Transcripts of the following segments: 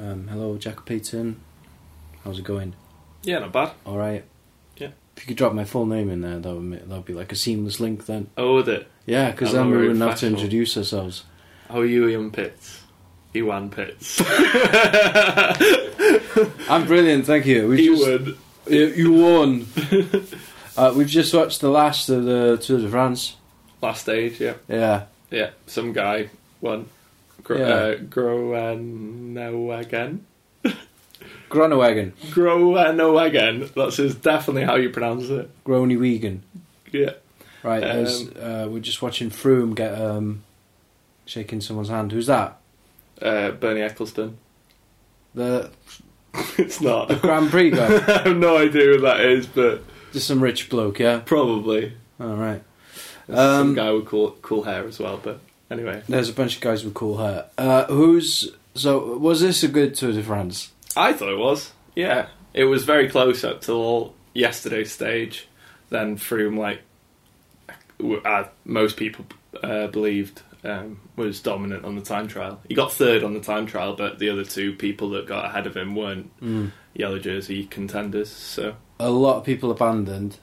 Um, Jack Peterson. How's it going? Yeah, not bad. All right. Yeah. If you could drop my full name in there, that would make, that would be like a seamless link then. Oh, the Yeah, because Oh, then we very wouldn't have to professional. introduce ourselves. how are you, Ian Pitts? Ewan Pitts. I'm brilliant, thank you. We've just, Ewan. You, you won. uh, we've just watched the last of the Tour de France. Last stage, yeah, Yeah. yeah. Some guy won. Gro- Yeah. uh, Groenewegen. Gronewagen. Groenewegen. That's is definitely how you pronounce it. Grony Wigan. Yeah. Right, there's, uh, we're just watching Froome get um, shaking someone's hand. Who's that? Uh, Bernie Eccleston. The it's not. the Grand Prix guy. I have no idea who that is, but just some rich bloke, yeah? probably. All right. Um, Some guy with cool, cool hair as well, but anyway. There's a bunch of guys with cool hair. Uh, who's. So, was this a good Tour de France? I thought it was. Yeah, it was very close up till yesterday's stage. Then Froome, like w- uh, most people uh, believed, um, was dominant on the time trial. He got third on the time trial, but the other two people that got ahead of him weren't Mm. yellow jersey contenders. So A lot of people abandoned.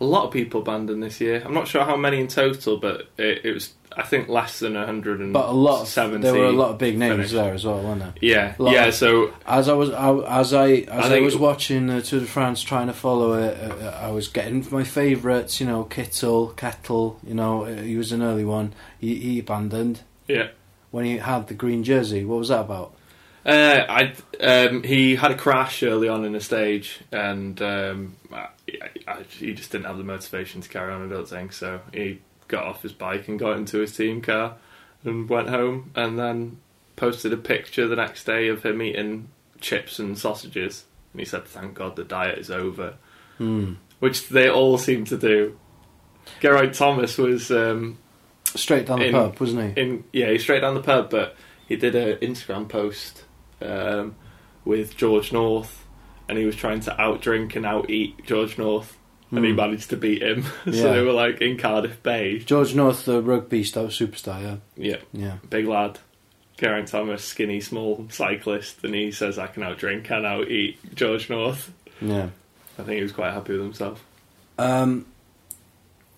a lot of people abandoned this year. I'm not sure how many in total, but it, it was I think less than 100. But a lot. Of, there were a lot of big names there as well, weren't there? Yeah, lot yeah. of- So As I was, I, as I, as I, think- was watching uh, Tour de France, trying to follow it, uh, uh, I was getting my favourites. You know, Kittle, Kettle. You know, uh, he was an early one. He, he abandoned yeah. when he had the green jersey. What was that about? Uh, I um, he had a crash early on in the stage, and um, I, I, he just didn't have the motivation to carry on. I don't think so. He got off his bike and got into his team car and went home, and then posted a picture the next day of him eating chips and sausages, and he said, "Thank God the diet is over," Hmm. which they all seem to do. Geraint Thomas was um, Straight down the In- pub, wasn't he? in yeah, he's straight down the pub, but he did an Instagram post um, with George North, and he was trying to outdrink and out eat George North, and he Hmm. managed to beat him. so Yeah. they were like in Cardiff Bay. George North, the rugby star superstar. Yeah, Yeah, yeah. big lad. Geraint Thomas, skinny, small cyclist, and he says, "I can outdrink and out eat George North." Yeah. I think he was quite happy with himself. Um,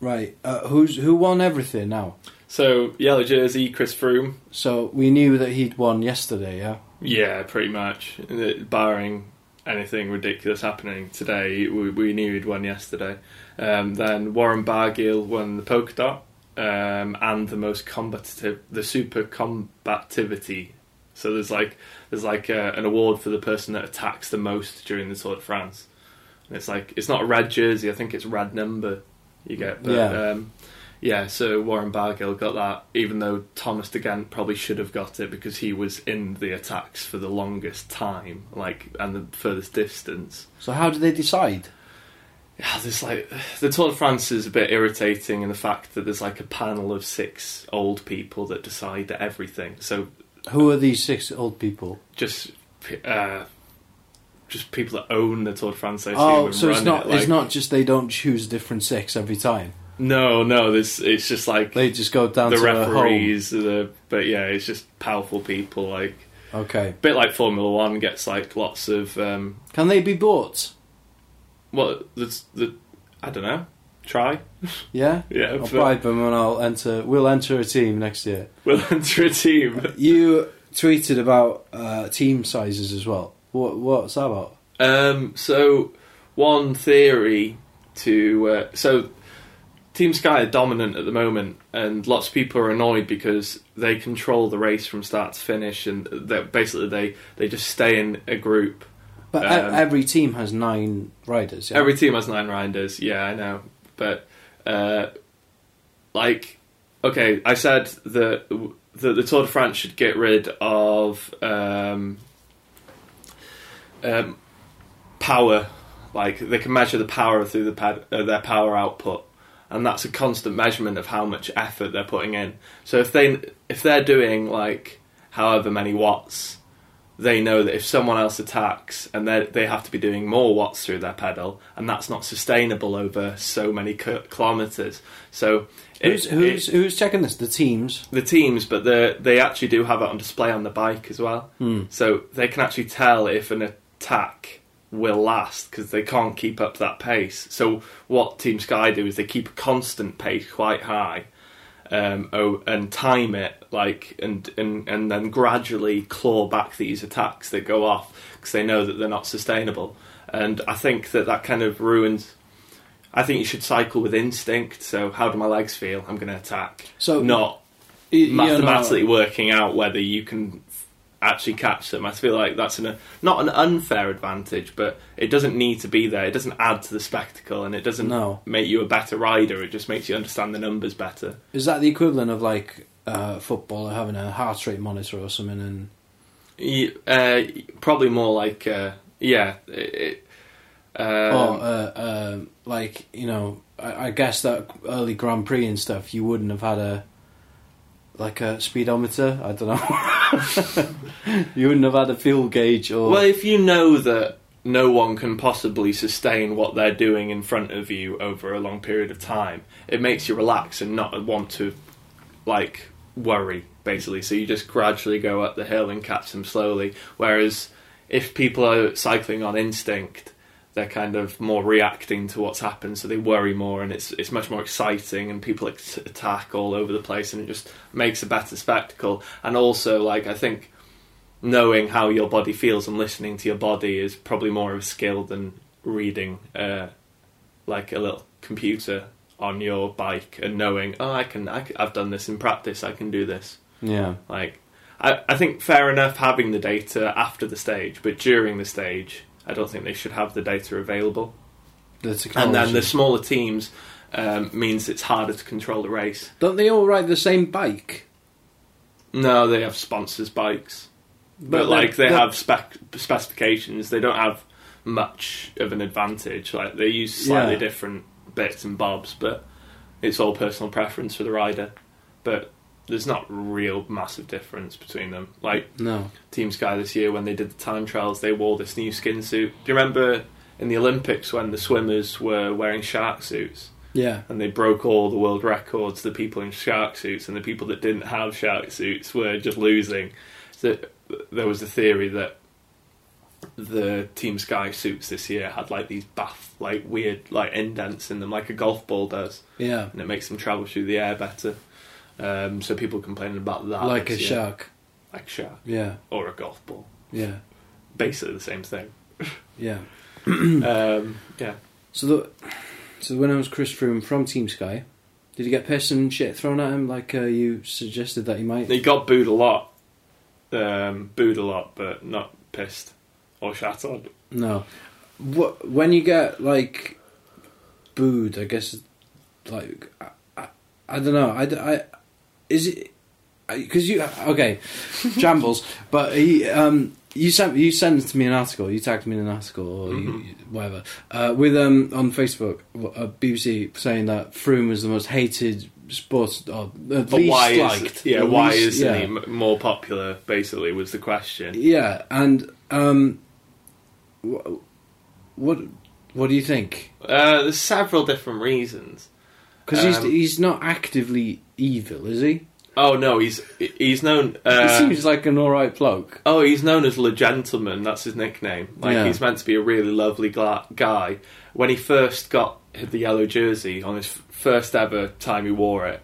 right. Uh, who's who won everything now? So yellow jersey, Chris Froome. So we knew that he'd won yesterday. Yeah. Yeah, pretty much. Uh, Barring anything ridiculous happening today, we, we knew he'd won yesterday. Um, then Warren Bargill won the polka dot um, and the most combative, the super combativity. So there's like there's like uh an award for the person that attacks the most during the Tour de France. And it's like it's not a red jersey. I think it's red number you get. But, Yeah. Um, yeah, so Warren Bargill got that, even though Thomas de Gent probably should have got it because he was in the attacks for the longest time, like and the furthest distance. So how did they decide? Yeah, there's like the Tour de France is a bit irritating in the fact that there's like a panel of six old people that decide everything. So Who are these six old people? just uh, just people that own the Tour de France. I assume, Oh, and so it's run not it, like- it's not just they don't choose different six every time. No, no. This it's just like They just go down the to referees, the but yeah, it's just powerful people. Like a hole. Okay. a bit like Formula One gets like lots of um, Can they be bought? well, the, the I don't know. Try, Yeah? yeah. I'll but bribe them and I'll enter we'll enter a team next year. We'll enter a team. You tweeted about uh, team sizes as well. What what's that about? Um, so one theory to uh, so Team Sky are dominant at the moment, and lots of people are annoyed because they control the race from start to finish, and that basically they they just stay in a group But e- Um, every team has nine riders, yeah. Every team has nine rinders. Yeah, I know. But uh, like, okay, I said that w- that the Tour de France should get rid of um, um, power. Like they can measure the power through the pad, uh, their power output, and that's a constant measurement of how much effort they're putting in. So if they if they're doing like however many watts they know that if someone else attacks and they they have to be doing more watts through their pedal, and that's not sustainable over so many ki- kilometers. So it- Who's who's it- who's checking this? The teams. the teams, but they they actually do have it on display on the bike as well. Hmm. So they can actually tell if an attack will last because they can't keep up that pace. So what Team Sky do is they keep a constant pace quite high, um, oh, and time it like and and and then gradually claw back these attacks that go off because they know that they're not sustainable. And I think that that kind of ruins. I think you should cycle with instinct. So how do my legs feel? I'm going to attack. So Not y- you know- mathematically working out whether you can actually catch them. I feel like that's an, not an unfair advantage, but it doesn't need to be there. It doesn't add to the spectacle, and it doesn't No. make you a better rider. It just makes you understand the numbers better. Is that the equivalent of like uh, football having a heart rate monitor or something? And You, uh, probably more like uh, yeah. It, it, or um, uh, um like you know, I, I guess that early Grand Prix and stuff, you wouldn't have had a like a speedometer. I don't know. you wouldn't have had a fuel gauge or well, if you know that no one can possibly sustain what they're doing in front of you over a long period of time, it makes you relax and not want to, like, worry, basically. So you just gradually go up the hill and catch them slowly. Whereas if people are cycling on instinct, they're kind of more reacting to what's happened, so they worry more, and it's it's much more exciting, and people ex- attack all over the place, and it just makes a better spectacle. And also, like I think knowing how your body feels and listening to your body is probably more of a skill than reading uh, like a little computer on your bike and knowing oh I can, I have done this in practice I can do this yeah. like I, I think fair enough having the data after the stage but during the stage I don't think they should have the data available The and technology. then the smaller teams um, means it's harder to control the race don't they all ride the same bike? no they have sponsors bikes but, they're- like they they're- have spec- specifications they don't have much of an advantage like they use slightly Yeah. different bits and bobs but it's all personal preference for the rider but there's not real massive difference between them like no. team sky this year when they did the time trials they wore this new skin suit do you remember in the olympics when the swimmers were wearing shark suits Yeah. and they broke all the world records. The people in shark suits and the people that didn't have shark suits were just losing. So there was a theory that the Team Sky suits this year had like these bath, like weird, like indents in them, like a golf ball does, Yeah. and it makes them travel through the air better. Um, so people complaining about that, Like a this year. shark. like a shark Yeah. or a golf ball, Yeah. basically the same thing. Yeah. um, yeah. So the so when I was Chris Froome from Team Sky, did he get pissed and shit thrown at him like uh, you suggested that he might? He got booed a lot. Um, booed a lot, but not pissed or shat on. No. What when you get like booed? I guess like I, I, I don't know. I, d- I- is it because you okay jambles, but he um. You sent you sent me an article. You tagged me in an article or Mhm. you, whatever uh, with um on Facebook, uh, BBC saying that Froome was the most hated sports or at But least why liked. is yeah? The why least- isn't yeah. he he m- more popular? Basically, was the question. Yeah, and um, wh- what what do you think? Uh, there's several different reasons. Because he's Um, he's not actively evil, is he? Oh no, he's he's known. he Uh, seems like an all right bloke. Oh, he's known as Le Gentleman. That's his nickname. Like Yeah. he's meant to be a really lovely gla- guy. When he first got the yellow jersey on his f- first ever time he wore it,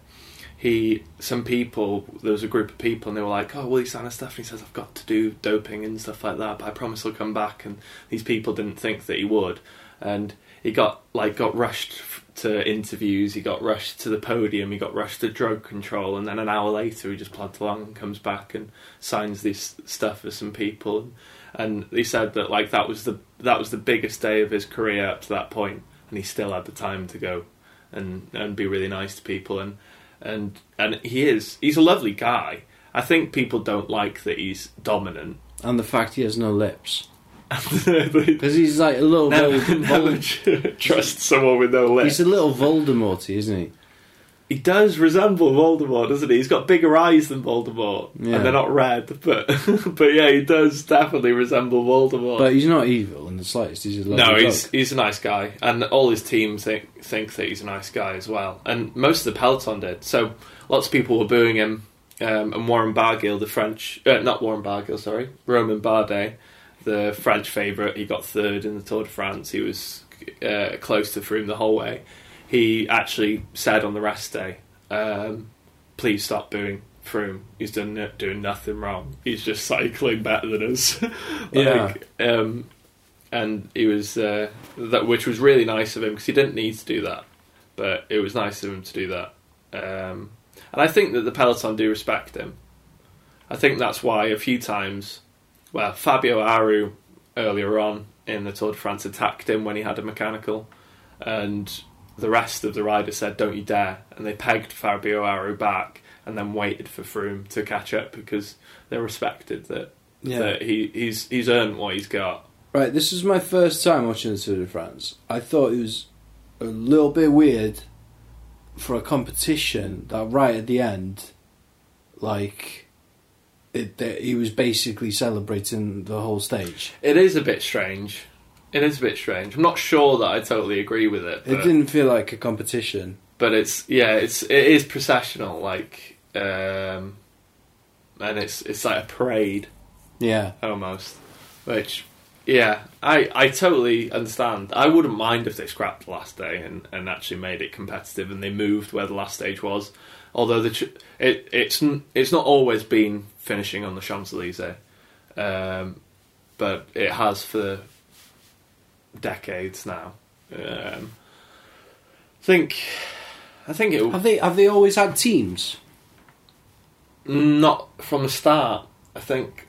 he some people there was a group of people and they were like, "Oh, will he sign us stuff?" And he says, "I've got to do doping and stuff like that, but I promise I'll come back." And these people didn't think that he would, and he got like got rushed f- to interviews. He got rushed to the podium. He got rushed to drug control, and then an hour later, he just plods along and comes back and signs this stuff for some people. And he said that like that was the that was the biggest day of his career up to that point, and he still had the time to go and and be really nice to people. And and and he is he's a lovely guy. I think people don't like that he's dominant. And the fact he has no lips, They because he's like a little never, bit. never Vol- trust someone with no lips. he's a little Voldemorty, isn't he? He does resemble Voldemort, doesn't he? He's got bigger eyes than Voldemort, Yeah. and they're not red, but but yeah, he does definitely resemble Voldemort. But he's not evil in the slightest. He's just a no, lovely he's bloke. he's a nice guy, and all his team think think that he's a nice guy as well, and most of the peloton did. So lots of people were booing him, um, and Warren Bargill, the French, uh, not Warren Bargill, sorry, Roman Bardet, the French favourite. He got third in the Tour de France. He was uh, close to Froome the whole way. He actually said on the rest day, um, "Please stop booing." Froome, he's done doing nothing wrong. He's just cycling better than us. like, Yeah. um, and he was uh, that, which was really nice of him because he didn't need to do that, but it was nice of him to do that. Um, and I think that the peloton do respect him. I think that's why a few times, well, Fabio Aru earlier on in the Tour de France attacked him when he had a mechanical, and the rest of the riders said, "Don't you dare!" and they pegged Fabio Aru back and then waited for Froome to catch up because they respected that, Yeah. that he, he's he's earned what he's got. Right, this is my first time watching the Tour de France. I thought it was a little bit weird for a competition that right at the end, like, it, that he was basically celebrating the whole stage. It is a bit strange. It is a bit strange. I'm not sure that I totally agree with it. It But, didn't feel like a competition. but it's yeah, it's it is processional, like, um, and it's it's like a parade Yeah. almost. Which, yeah, I I totally understand. I wouldn't mind if they scrapped the last day and, and actually made it competitive and they moved where the last stage was. Although the ch- it it's n- it's not always been finishing on the Champs Elysees, um, but it has for decades now. Um, I think I think it Have they have they always had teams? not from the start. I think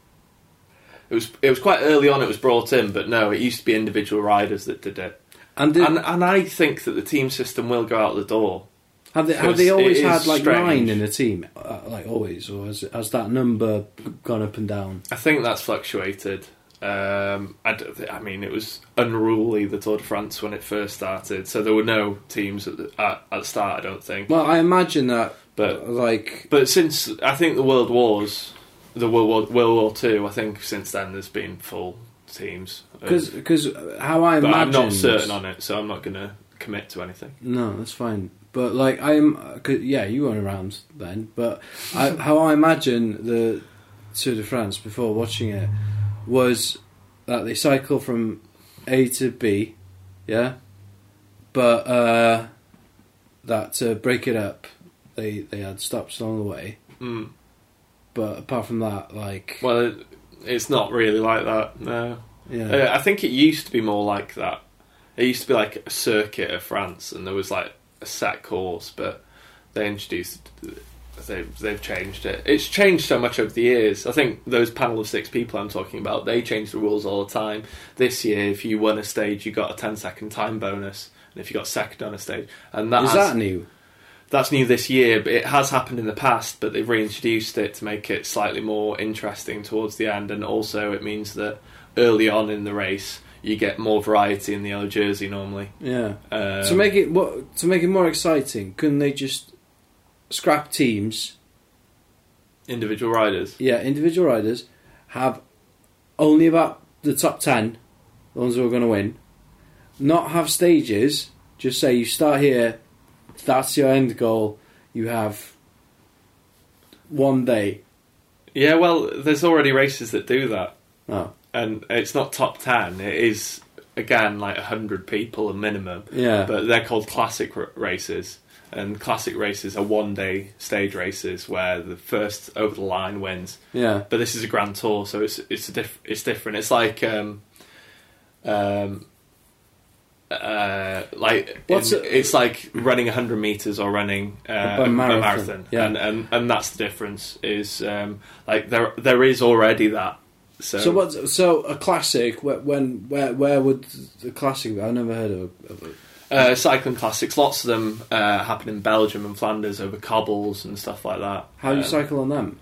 it was it was quite early on. It was brought in, but no, it used to be individual riders that did it. And, did, and and I think that the team system will go out the door. have they have it's- they it always is had like strange. nine in a team, uh, like always, or has, has that number gone up and down? I think that's fluctuated. Um, I, don't thi- I mean, it was unruly the Tour de France when it first started, so there were no teams at the, at, at the start. I don't think, Well, I imagine that, but like, But since I think the World Wars, the World War, World War Two, I think since then there's been full teams. because how I Um, but imagine. I'm not certain on it, so I'm not going to commit to anything. No, that's fine. But like I'm, cause, yeah, you weren't around then. But I, how I imagine the Tour de France before watching it was that they cycle from A to B, yeah, but uh, that to break it up, they they had stops along the way. Mm. But apart from that, like, Well, it, it's not really like that. No, yeah, uh, I think it used to be more like that. It used to be like a circuit of France, and there was like a set course, but they introduced. They, they've changed it. It's changed so much over the years. I think those panel of six people I'm talking about, they change the rules all the time. This year, if you won a stage, you got a 10 second time bonus, and if you got second on a stage, and that is has- that new? that's new this year, but it has happened in the past. But they've reintroduced it to make it slightly more interesting towards the end, and also it means that early on in the race you get more variety in the yellow jersey normally. Yeah. Um, to make it what to make it more exciting, couldn't they just scrap teams? individual riders, Yeah, individual riders have only about the top ten, the ones who are going to win. Not have stages. Just say you start here. That's your end goal. You have one day. yeah. Well, there's already races that do that, Oh, and it's not top ten. It is again like hundred people a minimum. yeah. but they're called classic r- races. And classic races are one-day stage races where the first over the line wins. yeah. but this is a grand tour, so it's it's a diff- it's different. It's like um, um, uh, like What's in- a- it's like running hundred meters or running uh, A a, a marathon, marathon, yeah. and, and and that's the difference. Is um, like there there is already that. So, So what? So a classic. wh- When? Where? Where would the classic? I've never heard of. a- Of a, Uh, cycling classics, lots of them uh, happen in Belgium and Flanders over cobbles and stuff like that. how do you Um, cycle on them?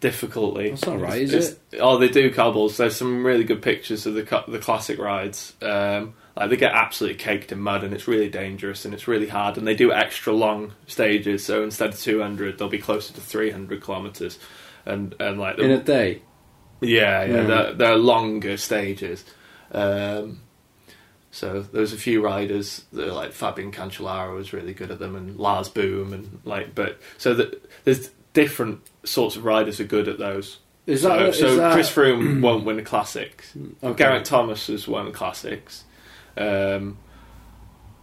difficulty. That's not right, is It's- it's- Oh, they do cobbles. There's some really good pictures of the co- the classic rides. Um, Like they get absolutely caked in mud, and it's really dangerous, and it's really hard. And they do extra long stages, so instead of 200, they'll be closer to 300 kilometers. And and like the- in a Mm. day. yeah, yeah, Yeah. They're, they're longer stages. Um, so there was a few riders that are like Fabian Cancellara was really good at them, and Lars Boom, and like, but so that there's different sorts of riders are good at those. Is so that so is that, Chris Froome won't win the classics. okay. Garrett Thomas has won classics. Um,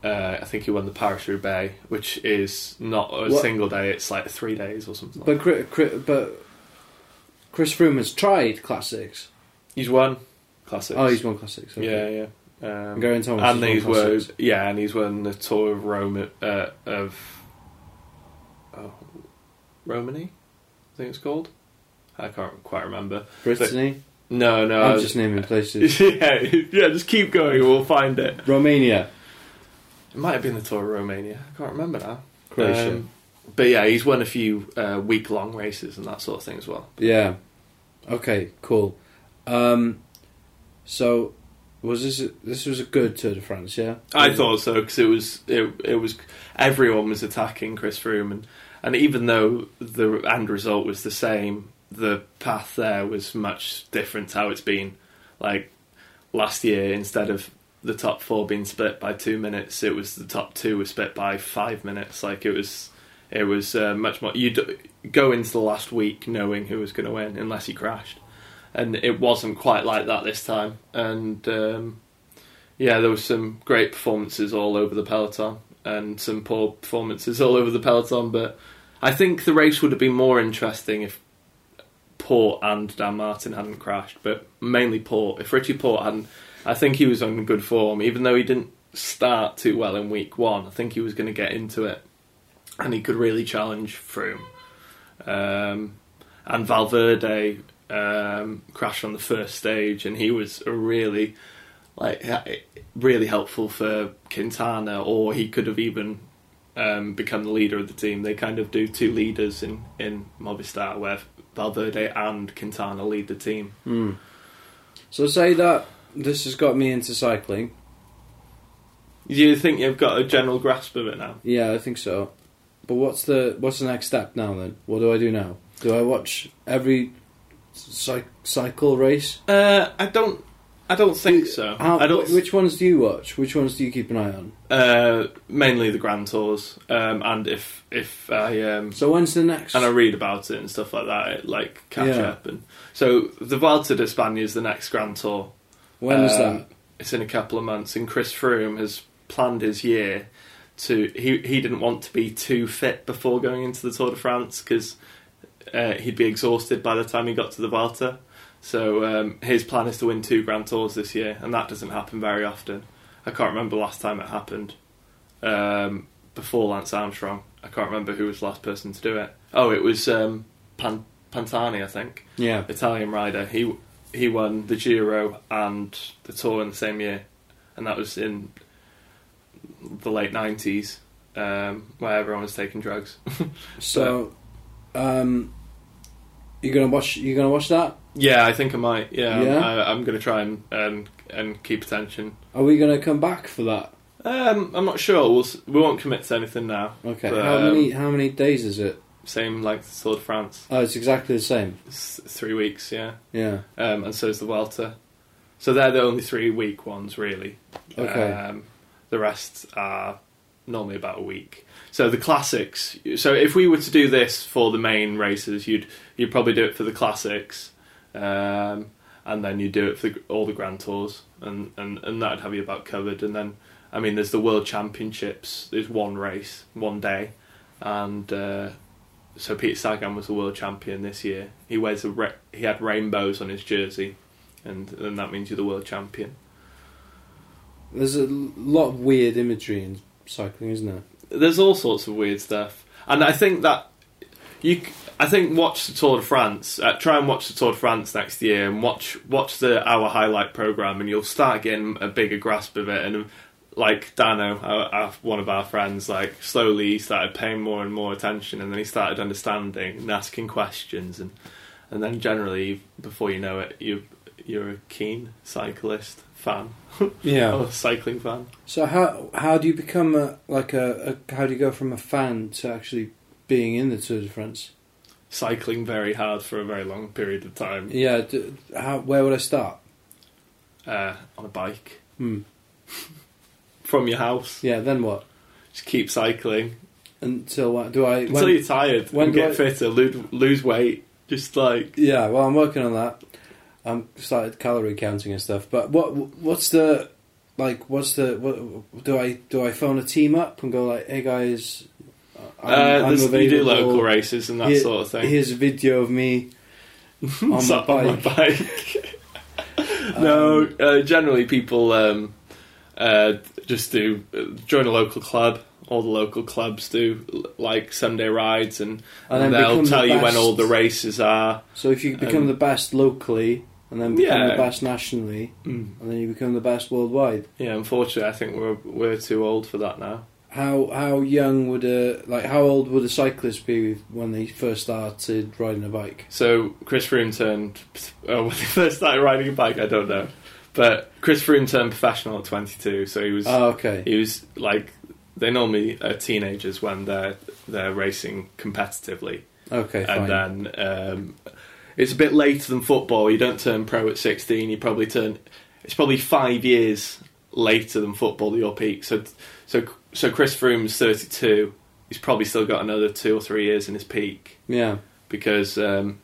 uh, I think he won the Paris Roubaix, which is not a What- single day; it's like three days or something. like But Chri- Chri- but Chris Froome has tried classics. that. he's won classics. Oh, he's won classics. Okay. Yeah, yeah. Um, And Geraint Thomas and has won these were classics. yeah, and he's won the tour of Rome uh, of oh, Romany, I think it's called. I can't quite remember. Brittany. No, no, I I'm was- just naming places. yeah, yeah. Just keep going, we'll find it. Romania, It might have been the tour of Romania. I can't remember now. Croatia. Um, but yeah, he's won a few uh, week-long races and that sort of thing as well. yeah. Okay. Cool. Um, so was this a, this was a good Tour de France? Yeah. I thought so because it was it, it was everyone was attacking Chris Froome and, and even though the end result was the same, the path there was much different to how it's been. Like last year, instead of the top four being split by two minutes, it was the top two were split by five minutes. Like it was it was uh, much more. You go into the last week knowing who was going to win unless he crashed, and it wasn't quite like that this time. And um, yeah, there was some great performances all over the peloton and some poor performances all over the peloton. But I think the race would have been more interesting if Port and Dan Martin hadn't crashed, but mainly Port. If Richie Port hadn't, I think he was on good form, even though he didn't start too well in week one. I think he was going to get into it, and he could really challenge Froome. Um, and Valverde um, crashed on the first stage, and he was a really like ha- really helpful for Quintana, or he could have even um, become the leader of the team. They kind of do two leaders in in Movistar, where Valverde and Quintana lead the team. Hmm. So say that this has got me into cycling. Do you think you've got a general grasp of it now? Yeah, I think so. But what's the what's the next step now then? What do I do now? Do I watch every cy- cycle race? Uh, I don't. I don't think so. How, I don't. wh- Which ones do you watch? Which ones do you keep an eye on? uh, mainly the Grand Tours, um, and if if I um, So when's the next? and I read about it and stuff like that, it, like catch Yeah. up. And so the Vuelta de España is the next Grand Tour. when is Um, that? It's in a couple of months, and Chris Froome has planned his year to. He he didn't want to be too fit before going into the Tour de France because uh, he'd be exhausted by the time he got to the Vuelta. So um, his plan is to win two Grand Tours this year, and that doesn't happen very often. I can't remember last time it happened um, before Lance Armstrong. I can't remember who was the last person to do it. Oh, it was um, Pan- Pantani, I think. Yeah. Italian rider. He he won the Giro and the Tour in the same year, and that was in the late nineties, um, where everyone was taking drugs. So, um, you're gonna watch. You're gonna watch that. yeah, I think I might. Yeah, I'm- Yeah? I, I'm going to try and um, and keep attention. Are we gonna come back for that? Um, I'm not sure. We'll, s- we won't commit to anything now. Okay. But, how um, many? How many days is it? Same like the Tour de France. Oh, it's exactly the same. It's three weeks. Yeah. Yeah. um, and so is the Welter. So they're the only three week ones, really. Okay. Um, the rest are normally about a week. So the classics. So if we were to do this for the main races, you'd you'd probably do it for the classics, um, and then you do it for the, all the grand tours, and, and and that'd have you about covered. And then, I mean, there's the World Championships. There's one race, one day, and. Uh, so Peter Sagan was the world champion this year. He wears a re- he had rainbows on his jersey, and and that means you're the world champion. There's a lot of weird imagery in cycling, isn't there? There's all sorts of weird stuff, and I think that you c- I think watch the Tour de France. Uh, try and watch the Tour de France next year, and watch watch the hour highlight program, and you'll start getting a bigger grasp of it. And like Dano, our, our, one of our friends, like slowly he started paying more and more attention, and then he started understanding and asking questions, and and then generally before you know it, you you're a keen cyclist fan, Yeah. or cycling fan. So how how do you become a like a, a how do you go from a fan to actually being in the Tour de France? Cycling very hard for a very long period of time Yeah. D- how where would I start? uh, on a bike Hmm. from your house. Yeah. Then what? Just keep cycling Until what? Do I? until when- you're tired. when and do get I- fitter, lose, lose weight. Just like Yeah, well, I'm working on that. I'm started calorie counting and stuff. But what what's the like? What's the what, do I do? I phone a team up and go like, "Hey guys, I'm, uh, I'm there's- you do available. local races and that Here- sort of thing. Here's a video of me on my Sat bike. Um, bike. no, uh, generally people um, uh, just do uh, join a local club. All the local clubs do l- like Sunday rides, and, And and, then become they'll the tell you when best. all the races are. So if you become Um, the best locally and then become Yeah. the best nationally and then you become the best worldwide, Hmm. Yeah, unfortunately, I think we're we're too old for that now. how how young would a like how old would a cyclist be when they first started riding a bike? So Chris Froome turned uh, when he first started riding a bike. I don't know, but Chris Froome turned professional at 22, so he was Oh, okay. He was like they normally are teenagers when they're they're racing competitively, Okay, fine. and then um, it's a bit later than football. You don't turn pro at sixteen. You probably turn. It's probably five years later than football. Your peak. So so so Chris Froome's thirty two. He's probably still got another two or three years in his peak yeah. because um,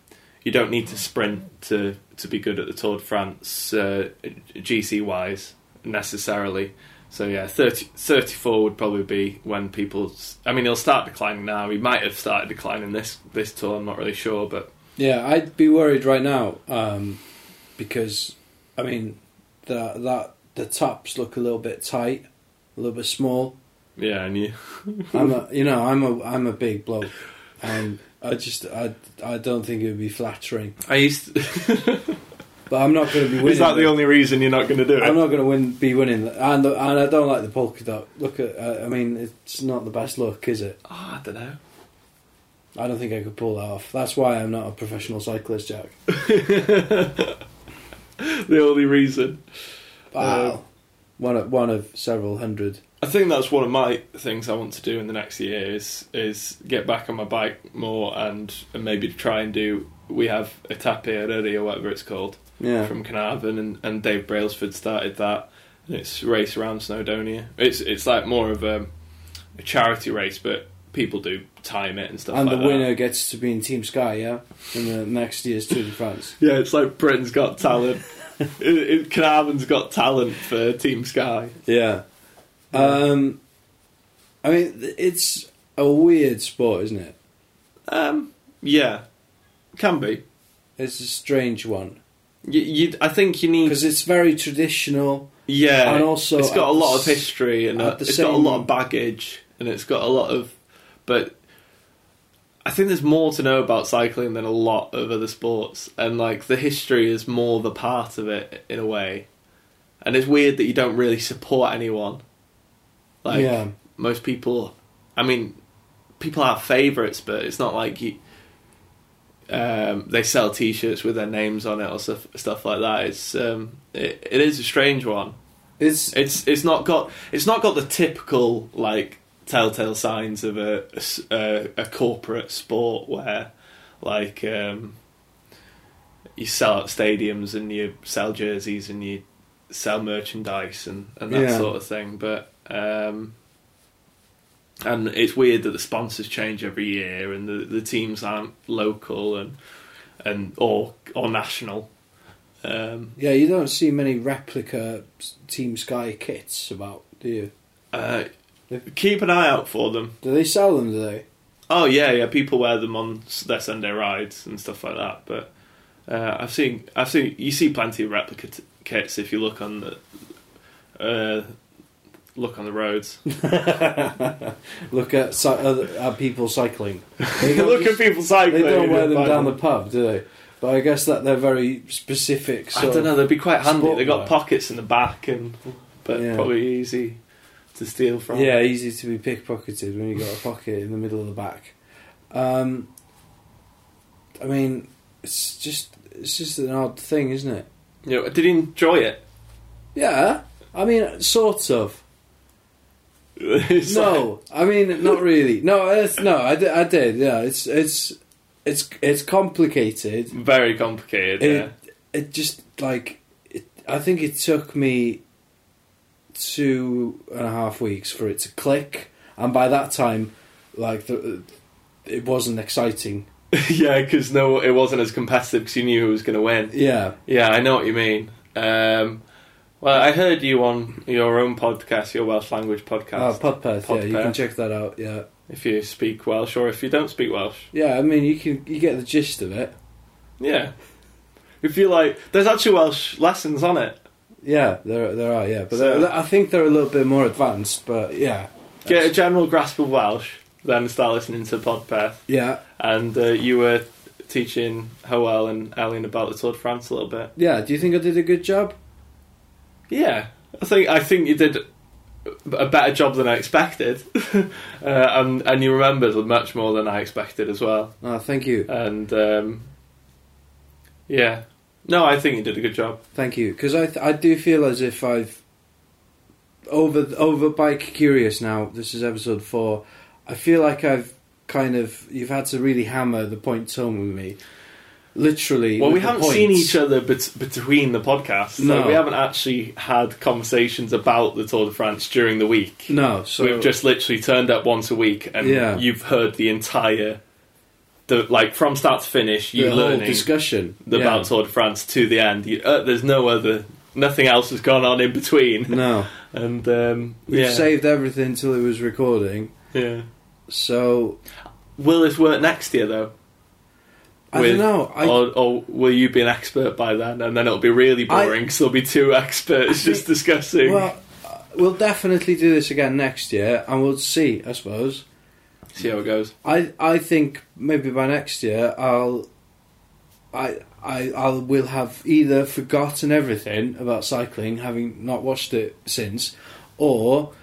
you don't need to sprint to, to be good at the Tour de France uh, GC wise necessarily. So yeah, 30, 34 would probably be when people. s- I mean, he'll start declining now. He might have started declining this this tour. I'm not really sure, but Yeah, I'd be worried right now um, because I mean the that the tops look a little bit tight, a little bit small. yeah, and you I'm a you know I'm a I'm a big bloke, and I just I I don't think it would be flattering. I used. To, But I'm not going to be winning. is that the only reason you're not going to do I'm it? not going to win. Be winning, and the, and I don't like the polka dot. Look at uh, I, I mean it's not the best look, is it? Oh, I don't know. I don't think I could pull that off. That's why I'm not a professional cyclist, Jack. The only reason. Wow. Uh, one of one of several hundred. I think that's one of my things I want to do in the next year is is get back on my bike more and, and maybe try and do. We have a tap here already or whatever it's called Yeah. from Carnarvon and, and Dave Brailsford started that and it's race around Snowdonia. It's it's like more of a, a charity race, but people do time it and stuff. and like the that. winner gets to be in Team Sky, yeah, in the next year's Tour de France. Yeah, it's like Britain's Got Talent. it, it, Carnarvon's Got Talent for Team Sky. Yeah. Um, I mean, th- it's a weird sport, isn't it? Um, yeah, can be. It's a strange one You, you, I think you need because it's very traditional. Yeah, And also it's got at a lot the of s- history and at a, the it's got a same- lot of baggage and it's got a lot of. But I think there's more to know about cycling than a lot of other sports, and like the history is more the part of it in a way. And it's weird that you don't really support anyone. Like Yeah. most people, I mean, people have favourites, but it's not like you. Um, they sell T-shirts with their names on it or stuff, stuff like that. It's um, it, it is a strange one. It's It's it's not got it's not got the typical like telltale signs of a a s- a- a corporate sport where like um, you sell out stadiums and you sell jerseys and you sell merchandise and, and that Yeah. sort of thing. But um, and it's weird that the sponsors change every year and the, the teams aren't local and and or or national. Um, yeah, you don't see many replica s- Team Sky kits about, do you? uh, keep an eye out for them. Do they sell them? Do they? Oh yeah, yeah. People wear them on s- their Sunday rides and stuff like that. But uh, I've seen, I've seen. You see plenty of replica t- kits if you look on the uh, look on the roads. Look at cy- other, at people cycling. They don't look at just- people cycling. They don't wear and them buy down the pub, do they? But I guess that they're very specific. Sort I don't of- know. They'd be quite handy. They got Sportwear. pockets in the back, and but Yeah. probably easy to steal from. Yeah, easy to be pickpocketed when you got a pocket in the middle of the back. Um, I mean, it's just it's just an odd thing, isn't it? You know, did you enjoy it? Yeah, I mean, sort of. It's like- no, I mean, not really. No, it's, no, I did, I did. Yeah, it's it's it's it's complicated. very complicated. It it just like it, I think it took me two and a half weeks for it to click, and by that time, like the, it wasn't exciting. yeah, yeah, because no, it wasn't as competitive because you knew who was going to win. Yeah, Yeah, I know what you mean. Um, well, I heard you on your own podcast, your Welsh language uh, podcast. Podpeth. Yeah, you can Podpeth. check that out. Yeah, if you speak Welsh or if you don't speak Welsh, yeah. I mean, you can you get the gist of it. yeah. If you like, there's actually Welsh lessons on it. Yeah, there there are. Yeah, but So- they're- I think they're a little bit more advanced. But yeah, Get a general grasp of Welsh, then start listening to Podpeth. yeah, And uh, you were teaching Howell and Ellen about the Tour de France a little bit. yeah. Do you think I did a good job? Yeah, I think I think you did a better job than I expected, uh, and and you remembered much more than I expected as well. Oh, thank you, And um, yeah, no, I think you did a good job. thank you. Because I th- I do feel as if I've over over bike curious now. This is episode four. I feel like I've kind of you've had to really hammer the point home with me. Literally. Well, with we the haven't seen points. each other bet- between the podcasts. No. Like, we haven't actually had conversations about the Tour de France during the week. No, so We've just literally turned up once a week, and Yeah. you've heard the entire, the like from start to finish. You the whole learning discussion the Yeah. Bout Tour de France to the end. You, uh, there's no other, nothing else has gone on in between. No, And um, we've yeah, saved everything till it was recording. yeah. So Will this work next year though, I With- don't know. I, or, or will you be an expert by then? And then it'll be really I- boring because there'll be two experts just discussing. Well, uh, we'll definitely do this again next year, and we'll see. I suppose. See how it goes. I I think maybe by next year I'll. I I I will have either forgotten everything about cycling, having not watched it since, or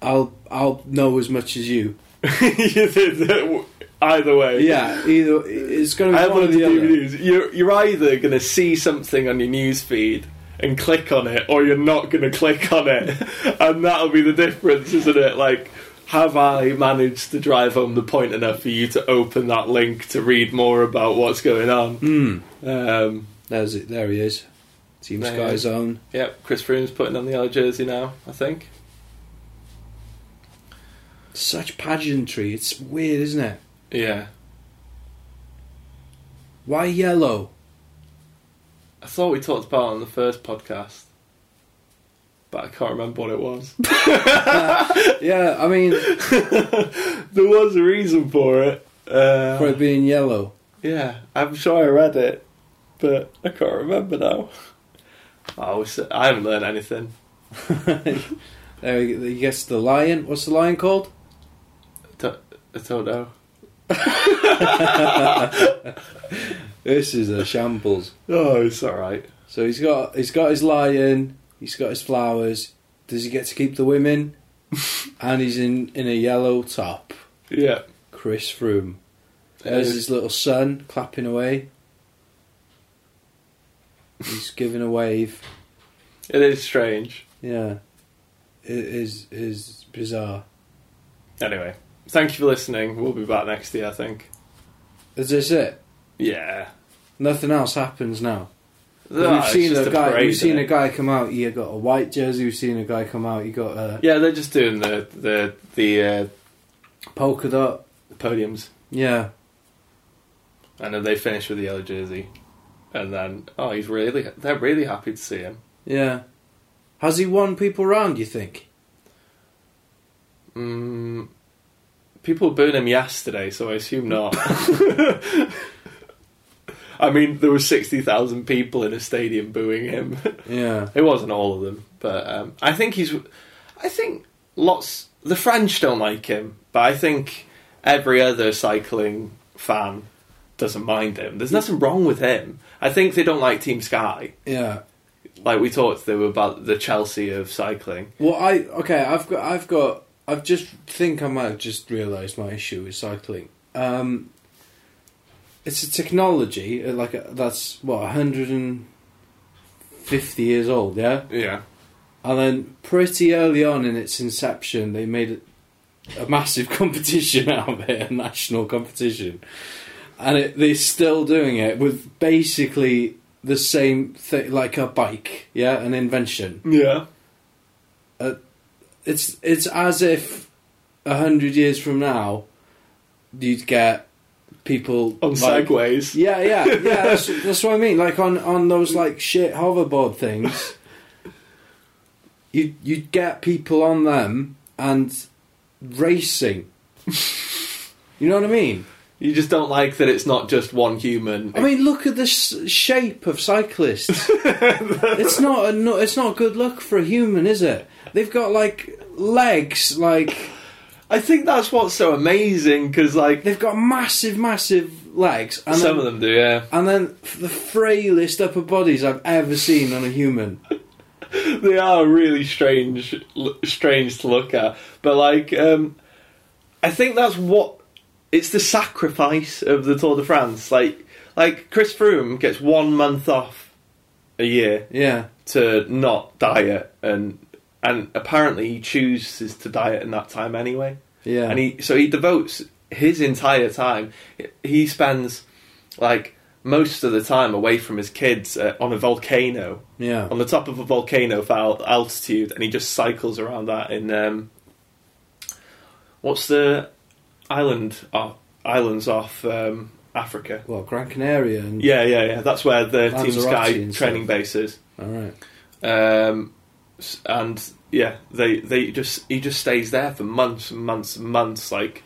I'll I'll know as much as you. Either way, Yeah, either it's going to I be have one one or of the the other. DVDs. You're, you're either going to see something on your news feed and click on it, or you're not going to click on it, and that'll be the difference, isn't it? Like, have I managed to drive home the point enough for you to open that link to read more about what's going on? Hmm. Um, There's it. There he is. Team There he Sky's is. own. yep, Chris Froome's putting on the yellow jersey now. I think. Such pageantry. It's weird, isn't it? Yeah, Why yellow? I thought we talked about it on the first podcast, but I can't remember what it was. Yeah, I mean, there was a reason for it. Uh, for it being yellow. Yeah, I'm sure I read it, but I can't remember now. I was, I haven't learned anything. there he he gets the lion. What's the lion called? I don't, I don't know. This is a shambles. Oh, it's all right. So he's got he's got his lion. He's got his flowers. Does he get to keep the women? and he's in in a yellow top. Yeah, Chris Froome. There's Uh, his little son clapping away. He's giving a wave. it is strange. Yeah, it is is bizarre. Anyway, thank you for listening. We'll be back next year, I think. Is this it? Yeah, Nothing else happens now. Ah, We've it's seen just a guy. parade, We've seen innit? a guy come out. He got a white jersey. We've seen a guy come out. He got a Yeah, they're just doing the the the uh, polka dot. podiums, Yeah, and then they finish with the yellow jersey, and then oh, he's really they're really happy to see him. yeah. Has he won people round? You think? Mm, people booed him yesterday, so I assume not. I mean, there were 60,000 people in a stadium booing him. Yeah, it wasn't all of them, but um, I think he's. I think lots. The French don't like him, but I think every other cycling fan doesn't mind him. There's nothing wrong with him. I think they don't like Team Sky. yeah. Like we talked, they were about the Chelsea of cycling. Well, I okay. I've got. I've got. I've just think I might have just realised my issue with cycling. Um, it's a technology uh, like a, that's what 150 years old. Yeah, Yeah. And then pretty early on in its inception, they made a massive competition out of it, a national competition. And it, they're still doing it with basically the same thing, like a bike, yeah, an invention. Yeah. It's it's as if a hundred years from now, you'd get people On like- segways. Yeah, yeah, yeah. That's, that's what I mean. Like on on those like shit hoverboard things, you you'd get people on them and racing. You know what I mean? You just don't like that it's not just one human. I mean, look at the s- shape of cyclists. it's not a no, it's not a good look for a human, is it? They've got like legs, like I think that's what's so amazing because, like, they've got massive, massive legs. And some then- of them do, yeah. And then f- the frailest upper bodies I've ever seen on a human. they are really strange, l- strange to look at. But like, um, I think that's what it's the sacrifice of the Tour de France. Like, like Chris Froome gets one month off a year Yeah. to not diet, and and apparently he chooses to diet in that time anyway. Yeah. And he so he devotes his entire time. He spends like most of the time away from his kids uh, on a volcano yeah. on the top of a volcano for al- altitude, and he just cycles around that in um, what's the island off, islands off um, Africa? Well, Gran Canaria and Yeah, yeah, yeah. That's where the Team Lanzarote Sky and training stuff. base is, all right. um, s- and yeah, they they just he just stays there for months and months and months, like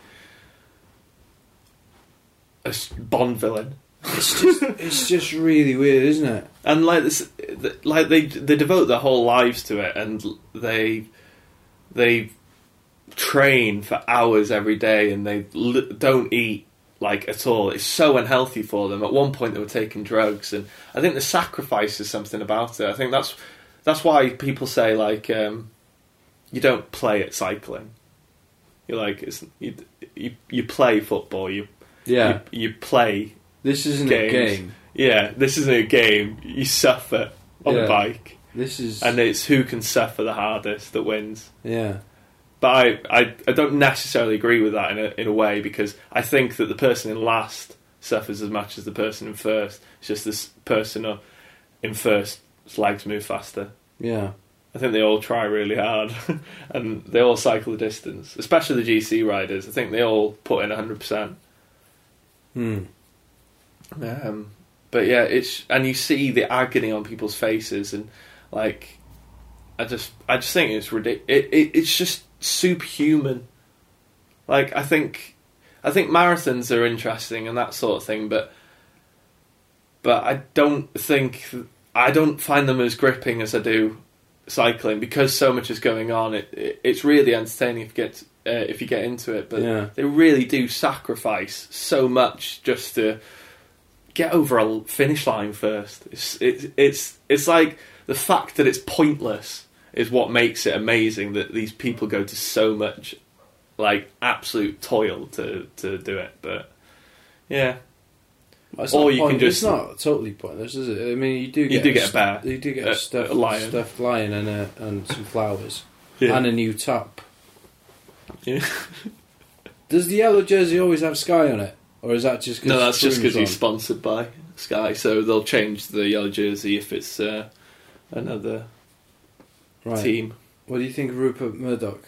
a s- Bond villain. It's just it's just really weird, isn't it? and like this, th- like they they devote their whole lives to it, and l- they they train for hours every day, and they l- don't eat like at all. It's so unhealthy for them. At one point, they were taking drugs, and I think the sacrifice is something about it. I think that's that's why people say like um, you don't play at cycling. You're like it's, you, you you play football. You Yeah. you, you play This isn't Games. a game. yeah, this isn't a game. You suffer on Yeah. a bike, This is and it's who can suffer the hardest that wins. yeah. But I, I, I don't necessarily agree with that in a, in a way because I think that the person in last suffers as much as the person in first. It's just this person uh, in first's legs move faster. Yeah. I think they all try really hard, and they all cycle the distance, especially the GC riders. I think they all put in hundred percent. Hmm. Um, but yeah, it's and you see the agony on people's faces, and like, I just, I just think it's ridiculous. It, it, it's just superhuman. Like, I think, I think marathons are interesting and that sort of thing, but, but I don't think I don't find them as gripping as I do cycling because so much is going on. It, it it's really entertaining if you get uh, if you get into it, but Yeah. they really do sacrifice so much just to get over a finish line first. It's it's it's it's like the fact that it's pointless is what makes it amazing that these people go to so much like absolute toil to to do it. But yeah, It's Or not you can point- just- it's not totally pointless, is it? I mean, you do you get do get a st- bear. you do get a- a stuffed a lion. stuffed lion and a, and some flowers Yeah. and a new top. Yeah. Does the yellow jersey always have sky on it, or is that just 'cause no, that's just because Spoon's he's on? sponsored by Sky, so they'll change the yellow jersey if it's uh, another right. team. What do you think of Rupert Murdoch?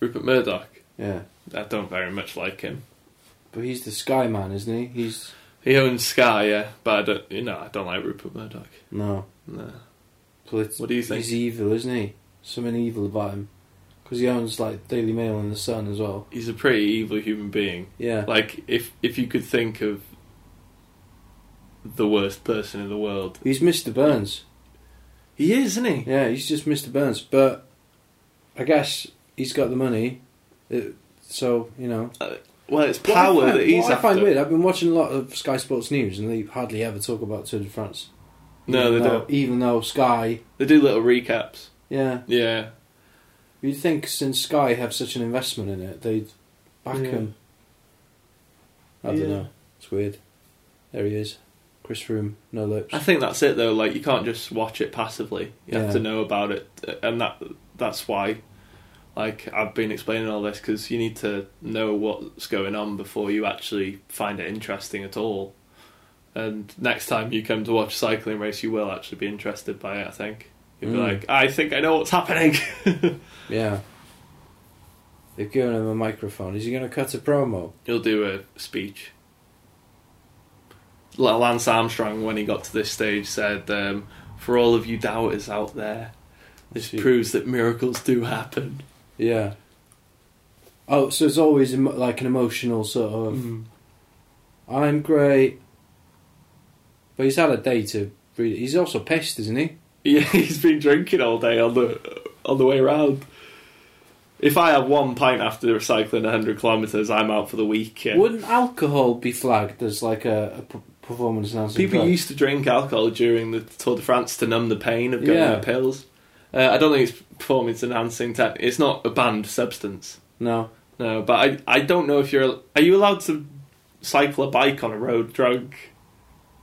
Rupert Murdoch. Yeah, I don't very much like him. but he's the sky man, isn't he? He's He owns Sky, yeah, but I don't, you know, I don't like Rupert Murdoch. no. No. Polit- What do you think? He's evil, isn't he? Something evil about him. Because he owns, like, Daily Mail and The Sun as well. He's a pretty evil human being. Yeah. Like, if if you could think of the worst person in the world, He's Mr. Burns. he is, isn't he? Yeah, he's just Mr. Burns. But I guess he's got the money. It, so, you know. Well, it's What I power find- that he's what I after. find weird, I've been watching a lot of Sky Sports News and they hardly ever talk about Tour de France. No, Even they though- don't. Even though Sky. They do little recaps. Yeah. Yeah, You'd think since Sky have such an investment in it, they'd back Yeah. him. I don't Yeah. know. It's weird. There he is. Chris Room, no lips. I think that's it though. Like you can't just watch it passively. You Yeah. have to know about it, and that that's why. Like I've been explaining all this because you need to know what's going on before you actually find it interesting at all. And next time you come to watch a cycling race, you will actually be interested by it. I think you'll be Mm. like, I think I know what's happening. Yeah. They've given him a microphone. Is he going to cut a promo? He'll do a speech. L- Lance Armstrong, when he got to this stage, said, um, "For all of you doubters out there, this Shoot. proves that miracles do happen." Yeah. Oh, so it's always emo- like an emotional sort of. Mm. I'm great. But he's had a day to read. He's also pissed, isn't he? Yeah, he's been drinking all day on the on the way round. If I have one pint after cycling 100 kilometres, I'm out for the week. yeah. Wouldn't alcohol be flagged as like a, a p- performance enhancing People drug? used to drink alcohol during the Tour de France to numb the pain of going Yeah. on pills. Uh, I don't think it's performance enhancing. Tech. It's not a banned substance. No. No, but I I don't know if you're are you allowed to cycle a bike on a road drug?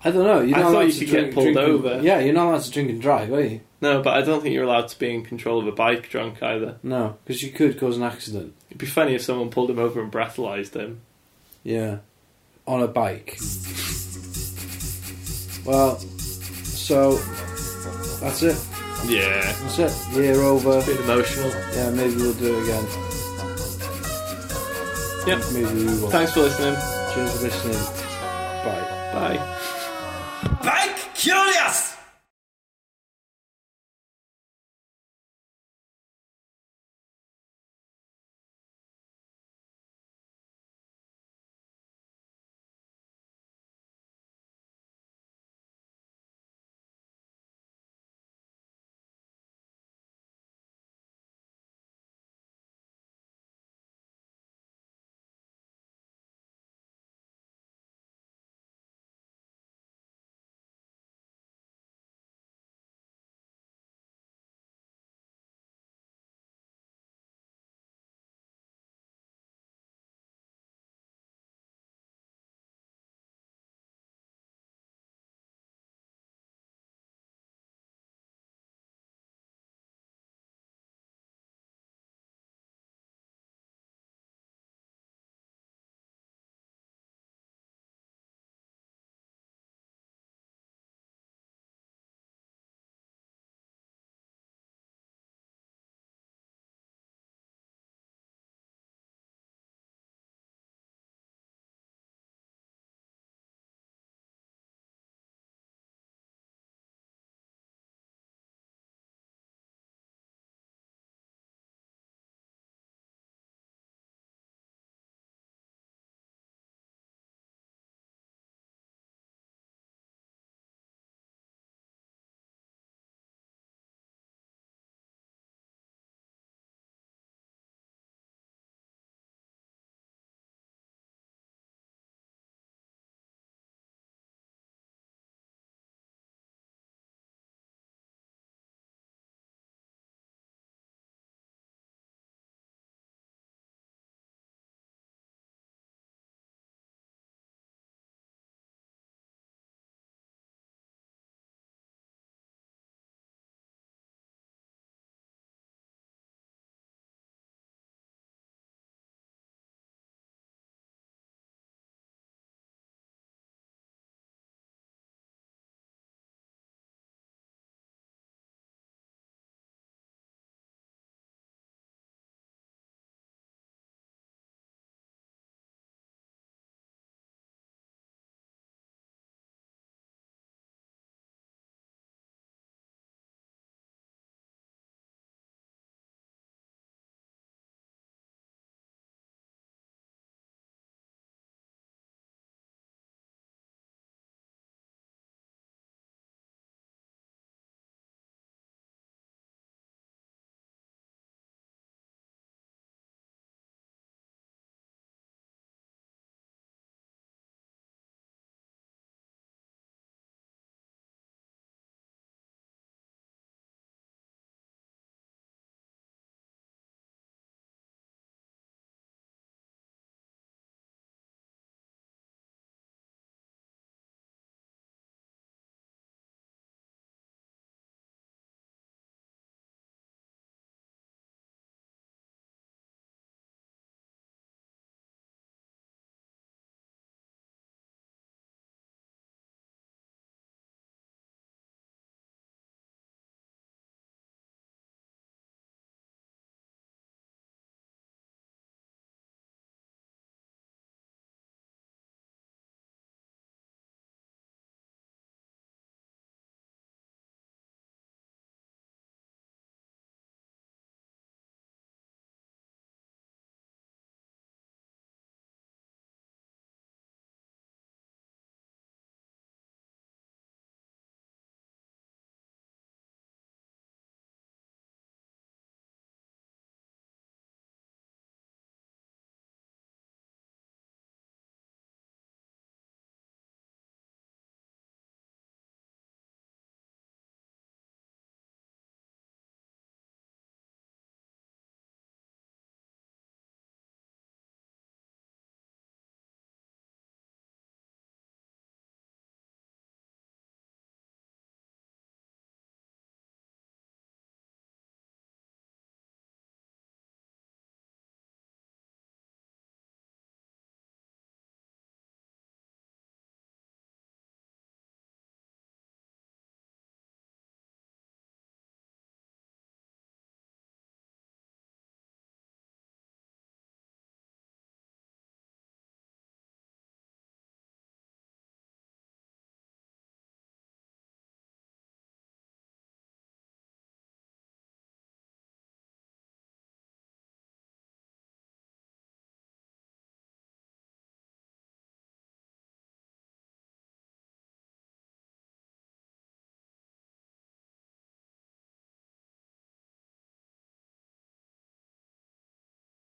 I don't know. You're I not thought allowed you to could drink, get pulled drink and- over. yeah, you're not allowed to drink and drive, are you? No, but I don't think you're allowed to be in control of a bike drunk either. No, because you could cause an accident. It'd be funny if someone pulled him over and breathalyzed him. Yeah. On a bike. Well, so that's it. Yeah. That's it. Year over. Bit emotional. Yeah, maybe we'll do it again. Yep. Maybe we will. Thanks for listening. Cheers for listening. Bye. Bye. Bike Curious!